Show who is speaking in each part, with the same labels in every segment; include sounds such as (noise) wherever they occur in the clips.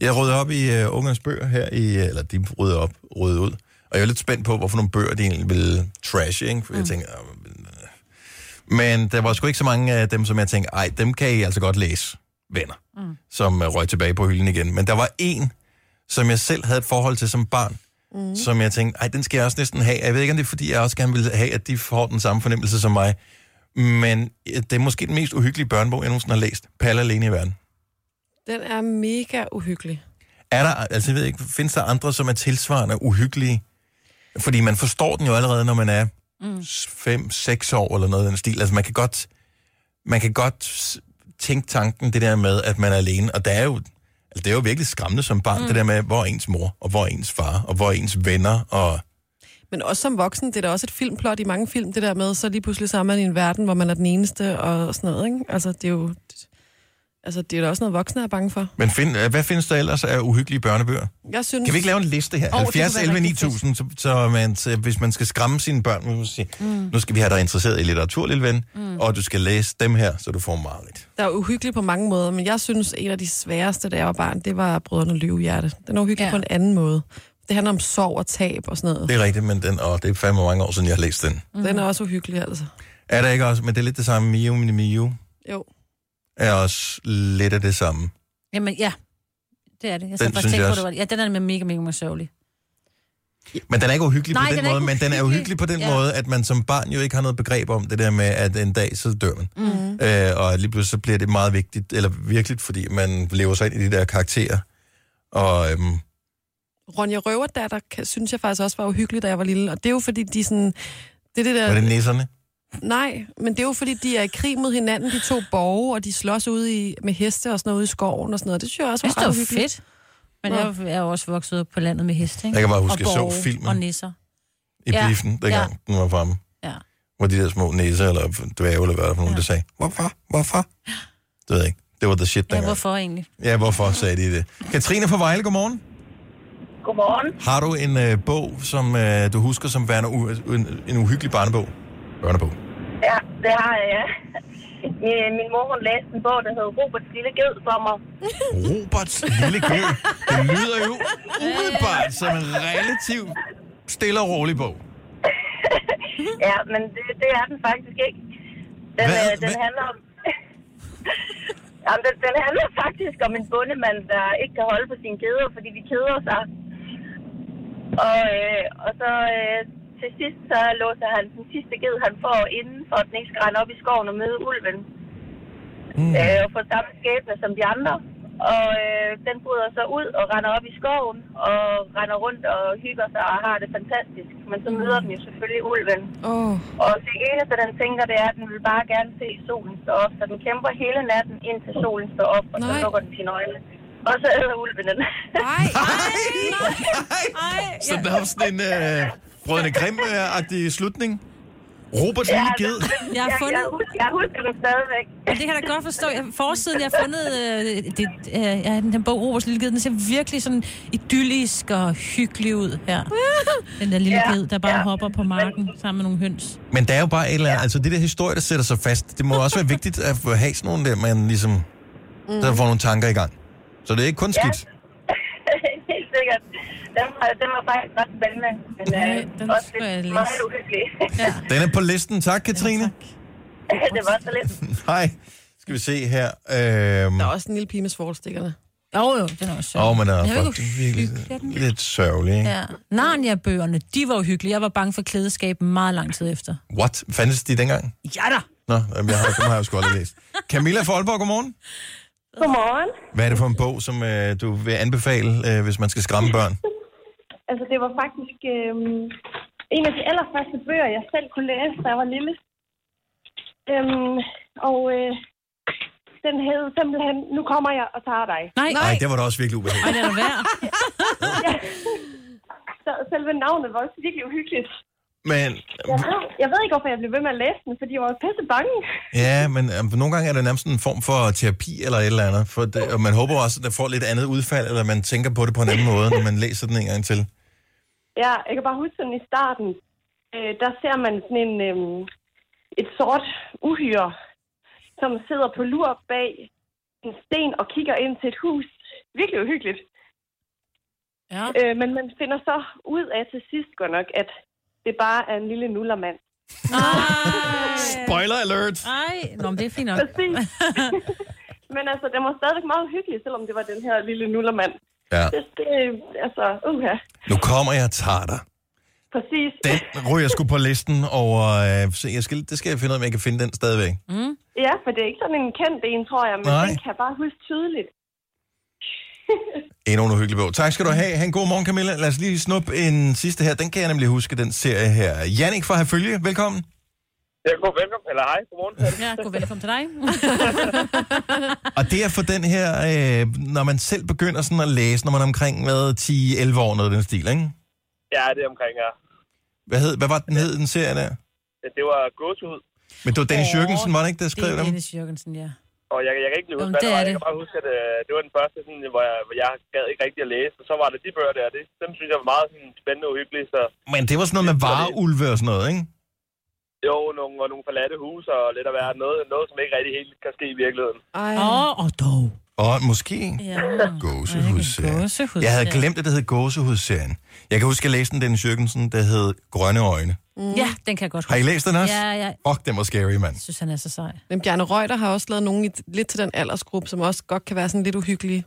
Speaker 1: Jeg rydder op i uh, ungernes bøger her, i, eller de rydder op, rydder ud. Og jeg er lidt spændt på, hvorfor nogle bøger de egentlig ville trash, ikke? For mm. jeg tænker, "Ah, men, øh." men der var sgu ikke så mange af dem, som jeg tænkte, ej, dem kan I altså godt læse, venner, mm. som uh, røg tilbage på hylden igen. Men der var en, som jeg selv havde et forhold til som barn, mm. som jeg tænkte, ej, den skal jeg også næsten have. Jeg ved ikke, om det er, fordi jeg også gerne vil have, at de får den samme fornemmelse som mig. Men øh, det er måske den mest uhyggelige børnebog, jeg nogensinde har læst. Palle alene i verden.
Speaker 2: Den er mega uhyggelig.
Speaker 1: Er der, altså jeg ved ikke, findes der andre, som er tilsvarende uhyggelige? Fordi man forstår den jo allerede, når man er 5-6 år eller noget i den stil. Altså man kan godt, man kan godt s- tænke tanken, det der med, at man er alene. Og der er jo, altså, det er jo virkelig skræmmende som barn, mm. det der med, hvor er ens mor, og hvor er ens far, og hvor er ens venner, og
Speaker 2: Men også som voksen, det er da også et filmplot i mange film, det der med, så lige pludselig så er man i en verden, hvor man er den eneste og sådan noget, ikke? Altså, det er jo... Altså, det er da også noget, voksne er bange for.
Speaker 1: Men find, hvad findes der ellers af uhyggelige børnebøger?
Speaker 2: Jeg synes...
Speaker 1: Kan vi ikke lave en liste her?
Speaker 3: Åh,
Speaker 1: Oh,
Speaker 3: det kunne
Speaker 1: 70
Speaker 3: være
Speaker 1: 11
Speaker 3: rigtig fedt.
Speaker 1: 9000, så, så, man, så hvis man skal skræmme sine børn, må man sige, mm. nu skal vi have dig interesseret i litteratur, lille ven, mm. og du skal læse dem her, så du får meget.
Speaker 2: Der er uhyggelig på mange måder, men jeg synes, en af de sværeste, da jeg var barn, det var Brødrene Løvehjerte. Den er uhyggelig
Speaker 3: Ja.
Speaker 2: ja. på en anden måde. Det handler om sorg og tab og sådan noget.
Speaker 1: Det er rigtigt, men den, og det er fandme mange år siden, jeg har læst den.
Speaker 2: Mm. Den er også uhyggelig, altså.
Speaker 1: Er der ikke også, men det er lidt det samme, Mio, Mini Mio,
Speaker 2: Jo.
Speaker 1: er også lidt af det samme.
Speaker 3: Jamen, ja. Det er det. Jeg skal
Speaker 1: Den
Speaker 3: faktisk
Speaker 1: synes
Speaker 3: tænke
Speaker 1: jeg
Speaker 3: på,
Speaker 1: også.
Speaker 3: det var Ja, den er nemlig mega, mega, mega sørgelig.
Speaker 1: Men den er ikke uhyggelig
Speaker 3: Nej,
Speaker 1: på den,
Speaker 3: den er
Speaker 1: måde,
Speaker 3: ikke
Speaker 1: men den er
Speaker 3: uhyggelig.
Speaker 1: uhyggelig på den
Speaker 3: Ja.
Speaker 1: måde, at man som barn jo ikke har noget begreb om det der med, at en dag så dør man. Mm. Øh, og lige pludselig så bliver det meget vigtigt, eller virkelig, fordi man lever sig ind i de der karakterer. Og øhm,
Speaker 2: Ronja Røverdatter kan, synes jeg faktisk også var uhyggelig, da jeg var lille. Og det er jo fordi, de sådan... Det er det der...
Speaker 1: var det
Speaker 3: Øh.
Speaker 1: nisserne?
Speaker 2: Nej, men det er jo fordi, de er i krig mod hinanden, de to borge, og de slås ude i, med heste og sådan noget ude i skoven og sådan noget. Det synes jeg også
Speaker 3: Jeg
Speaker 2: var,
Speaker 3: synes, det
Speaker 2: ret
Speaker 3: var
Speaker 2: uhyggeligt.
Speaker 3: fedt. Men jeg er jo- jeg er jo også vokset op på landet med heste, ikke?
Speaker 1: Jeg kan bare huske,
Speaker 3: og
Speaker 1: jeg så
Speaker 3: borge
Speaker 1: filmen.
Speaker 3: Og nisser.
Speaker 1: i
Speaker 3: Ja,
Speaker 1: ja. biffen, dengang ja. den var fremme.
Speaker 3: Ja.
Speaker 1: Hvor de der små næser, eller dværge, eller hvad der for nogen, ja. der sagde, hvorfor, hvorfor? Det ved jeg ikke. Det var the shit
Speaker 3: Ja,
Speaker 1: dengang. Ja, hvorfor,
Speaker 3: hvorfor egentlig?
Speaker 1: ja, hvorfor sagde de det? Katrine fra Vejle, godmorgen.
Speaker 4: Godmorgen.
Speaker 1: Har du en øh, bog, som øh, du husker som værende u- en, en uhyggelig barnebog? Børnebog.
Speaker 4: Ja, det har jeg, ja. Min, min mor, hun læste en bog, der hed Roberts Lille Ged Sommer.
Speaker 1: Roberts lille ged. Det lyder jo umiddelbart som en relativt stille og rolig bog.
Speaker 4: Ja, men det, det er den faktisk ikke. Den,
Speaker 1: Hvad?
Speaker 4: øh, den
Speaker 1: Hvad?
Speaker 4: handler om... (laughs) Jamen, den, den handler faktisk om en bondemand, der ikke kan holde på sine kæder, fordi de keder sig. Og, øh, og så øh, til sidst, så låser han den sidste ged, han får inden, for at den ikke skal rende op i skoven og møde ulven. Mm. Øh, og får samme skæbne som de andre. Og øh, den bryder så ud og render op i skoven, og render rundt og hygger sig og har det fantastisk. Men så møder den jo selvfølgelig ulven.
Speaker 2: Åh, oh,
Speaker 4: Og det eneste, den tænker, det er, at den vil bare gerne se solen stå op. Så den kæmper hele natten, indtil solen står op, og så
Speaker 2: Nej.
Speaker 4: lukker den sine øjne. Og så æder ulven den. (laughs)
Speaker 2: nej.
Speaker 1: Så der er sådan en øh, brødende grim-agtig slutning. Roberts lille ged.
Speaker 3: Jeg har
Speaker 4: Altså, jeg,
Speaker 3: fundet...
Speaker 4: jeg, hus- jeg husker den stadigvæk.
Speaker 3: Men det kan jeg da godt forstå. Jeg, forsiden, jeg har fundet øh, det, øh, ja, den, den bog, Roberts Lille Ged, den ser virkelig sådan idyllisk og hyggelig ud her. Den der lille
Speaker 4: Ja,
Speaker 3: ged, der bare
Speaker 4: ja.
Speaker 3: hopper på marken sammen med nogle høns.
Speaker 1: Men der er jo bare et eller andet, altså det der historie, der sætter sig fast, det må også være vigtigt at få- have sådan nogle der, man ligesom, mm. der får nogle tanker i gang. Så det er ikke kun
Speaker 4: Ja.
Speaker 1: skidt.
Speaker 4: (laughs) Helt sikkert. Den var, den var faktisk ret spændende. Men
Speaker 3: Nej,
Speaker 4: øh,
Speaker 3: den
Speaker 4: også
Speaker 3: skal jeg
Speaker 4: lidt
Speaker 3: læse.
Speaker 4: meget uhyggelig.
Speaker 3: Ja.
Speaker 1: Den er på listen. Tak, Katrine.
Speaker 4: (laughs) det var så lidt.
Speaker 1: Hej. Skal vi se her. Øhm,
Speaker 2: (laughs) Der er også en lille pige med svolstikkerne.
Speaker 3: Jo, jo, den er også
Speaker 1: Åh, oh, men der
Speaker 3: Den
Speaker 1: er
Speaker 3: jo ikke
Speaker 1: faktisk virkelig
Speaker 3: uhyggelig, er den?
Speaker 1: lidt sørgelig, ikke?
Speaker 3: Ja. Narnia-bøgerne, de var uhyggelige. Jeg var bange for klædeskab meget lang tid efter.
Speaker 1: What? Fandtes de dengang?
Speaker 3: Ja da!
Speaker 1: Nå, jamen, jeg har, dem har jeg jo sgu aldrig læst. Camilla fra Aalborg, godmorgen.
Speaker 4: Godmorgen.
Speaker 1: Hvad er det for en bog, som øh, du vil anbefale, øh, hvis man skal skræmme børn?
Speaker 5: Altså, det var faktisk øh, en af de allerførste bøger, jeg selv kunne læse, da jeg var lille. Øhm, og øh, den hed simpelthen, nu kommer jeg og tager dig.
Speaker 3: Nej,
Speaker 1: Nej,
Speaker 3: nej,
Speaker 1: det var da også virkelig ubehageligt.
Speaker 3: det er da værd.
Speaker 5: Så selve navnet var også virkelig uhyggeligt.
Speaker 1: Men,
Speaker 5: Jeg ved, jeg ved ikke, hvorfor jeg blev ved med at læse den, fordi jeg var pisse bange.
Speaker 1: ja, men øh, nogle gange er det nærmest en form for terapi eller et eller andet. For det, og man håber også, at der får lidt andet udfald, eller man tænker på det på en anden måde, når man læser den en gang til.
Speaker 5: Ja, jeg kan bare huske sådan i starten, øh, der ser man sådan en, øh, et sort uhyre, som sidder på lur bag en sten og kigger ind til et hus virkelig uhyggeligt.
Speaker 3: (laughs)
Speaker 2: Ja.
Speaker 5: Øh, men man finder så ud af til sidst godt nok, at det bare er en lille nullermand.
Speaker 3: Nej.
Speaker 1: Spoiler alert!
Speaker 3: Nej, Nå, men det er fint (laughs) nok.
Speaker 5: Præcis. men altså, den var stadigvæk meget hyggelig, selvom det var den her lille nullermand.
Speaker 1: Ja.
Speaker 5: Det, det, altså, uha.
Speaker 1: Nu kommer jeg og tager dig.
Speaker 5: Præcis.
Speaker 1: Den ryger sgu på listen over... Øh, så jeg skal, det skal jeg finde ud af, om jeg kan finde den stadigvæk.
Speaker 5: Ja, for det er ikke sådan en kendt en, tror jeg, men
Speaker 1: Nej.
Speaker 5: Nej. den kan jeg bare huske tydeligt.
Speaker 1: Endnu en uhyggelig bog. Tak skal du have. Ha' en god morgen, Camilla. Lad os lige snuppe en sidste her. Den kan jeg nemlig huske, den serie her. Jannik fra Herfølge, velkommen.
Speaker 6: Ja, god velkommen. Eller hej, godmorgen.
Speaker 3: Ja, god velkommen til dig.
Speaker 1: Og det er for den her, øh, når man selv begynder sådan at læse, når man er omkring med 10-11 år, noget af den stil, ikke?
Speaker 6: Ja, det er omkring her.
Speaker 1: Hvad, hed, hvad var den hed, den serie der?
Speaker 6: Ja, det var gåsehud,
Speaker 1: Men det var Dennis
Speaker 3: Åh,
Speaker 1: Jørgensen, var det ikke, der
Speaker 3: Det
Speaker 1: skrev
Speaker 3: er
Speaker 1: dem?
Speaker 3: Dennis Jørgensen, ja.
Speaker 6: og jeg, jeg kan ikke lige huske,
Speaker 3: Jamen, det
Speaker 6: hvad det
Speaker 3: er
Speaker 6: var. Jeg
Speaker 3: det.
Speaker 6: kan bare huske, at øh, det var den første, sådan, hvor, jeg, hvor jeg gad ikke rigtig at læse. Og så var det de bøger der, det, dem synes jeg var meget sådan, spændende og uhyggelige. Så
Speaker 1: Men det var sådan noget med vareulve og sådan noget, ikke?
Speaker 6: jo, nogle, og nogle forladte huse og lidt af hvert. Noget, noget, som ikke rigtig helt kan ske i virkeligheden.
Speaker 2: Ej.
Speaker 3: Åh, oh, og dog.
Speaker 1: Og måske
Speaker 3: Ja.
Speaker 1: gåsehudserien.
Speaker 3: Gåsehud.
Speaker 1: Jeg havde glemt, at det hed gåsehudserien. Jeg kan huske, at jeg læste den, Dennis Jørgensen, der hed Grønne Øjne.
Speaker 3: Ja, den kan jeg godt
Speaker 1: Har I
Speaker 3: huske.
Speaker 1: læst den også?
Speaker 3: Ja, ja.
Speaker 1: Fuck, den var scary, mand.
Speaker 3: Jeg synes, han er så sej.
Speaker 2: Men Bjarne Reuter har også lavet nogen i, lidt til den aldersgruppe, som også godt kan være sådan lidt uhyggelige.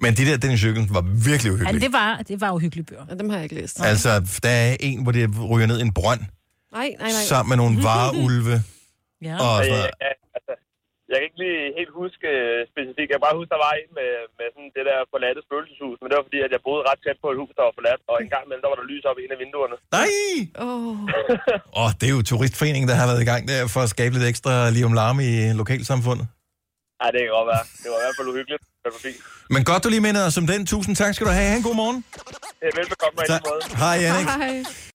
Speaker 1: Men de der Dennis Jørgensen var virkelig
Speaker 3: Ja,
Speaker 1: uhyggelige.
Speaker 3: det var, det var uhyggelige bøger.
Speaker 2: Ja, dem har jeg ikke læst.
Speaker 1: Altså, der er en, hvor det ryger ned i en brønd,
Speaker 2: Nej, nej, nej.
Speaker 1: sammen med nogle
Speaker 3: (laughs)
Speaker 1: vareulve
Speaker 3: Ja.
Speaker 1: og
Speaker 6: Og
Speaker 1: sådan
Speaker 6: jeg,
Speaker 1: noget.
Speaker 6: jeg, altså, jeg kan ikke lige helt huske øh, specifikt. Jeg kan bare huske, der var en med, med sådan det der forladte spøgelseshus. Men det var fordi, at jeg boede ret tæt på et hus, der var forladt. Og en gang imellem, der var der lys op i en af vinduerne.
Speaker 1: Nej!
Speaker 2: Oh,
Speaker 1: Åh, det er jo turistforeningen, der har været i gang der for at skabe lidt ekstra liv om larme i lokalsamfundet.
Speaker 6: Nej, det kan godt være. Det var i hvert fald uhyggeligt. Det var fint.
Speaker 1: Men godt, du lige minder os om den. Tusind tak skal du have. Ha' en god morgen.
Speaker 6: Øh, Velbekomme på en
Speaker 1: Tak.
Speaker 6: måde.
Speaker 1: Hej, Jannik.
Speaker 2: hej.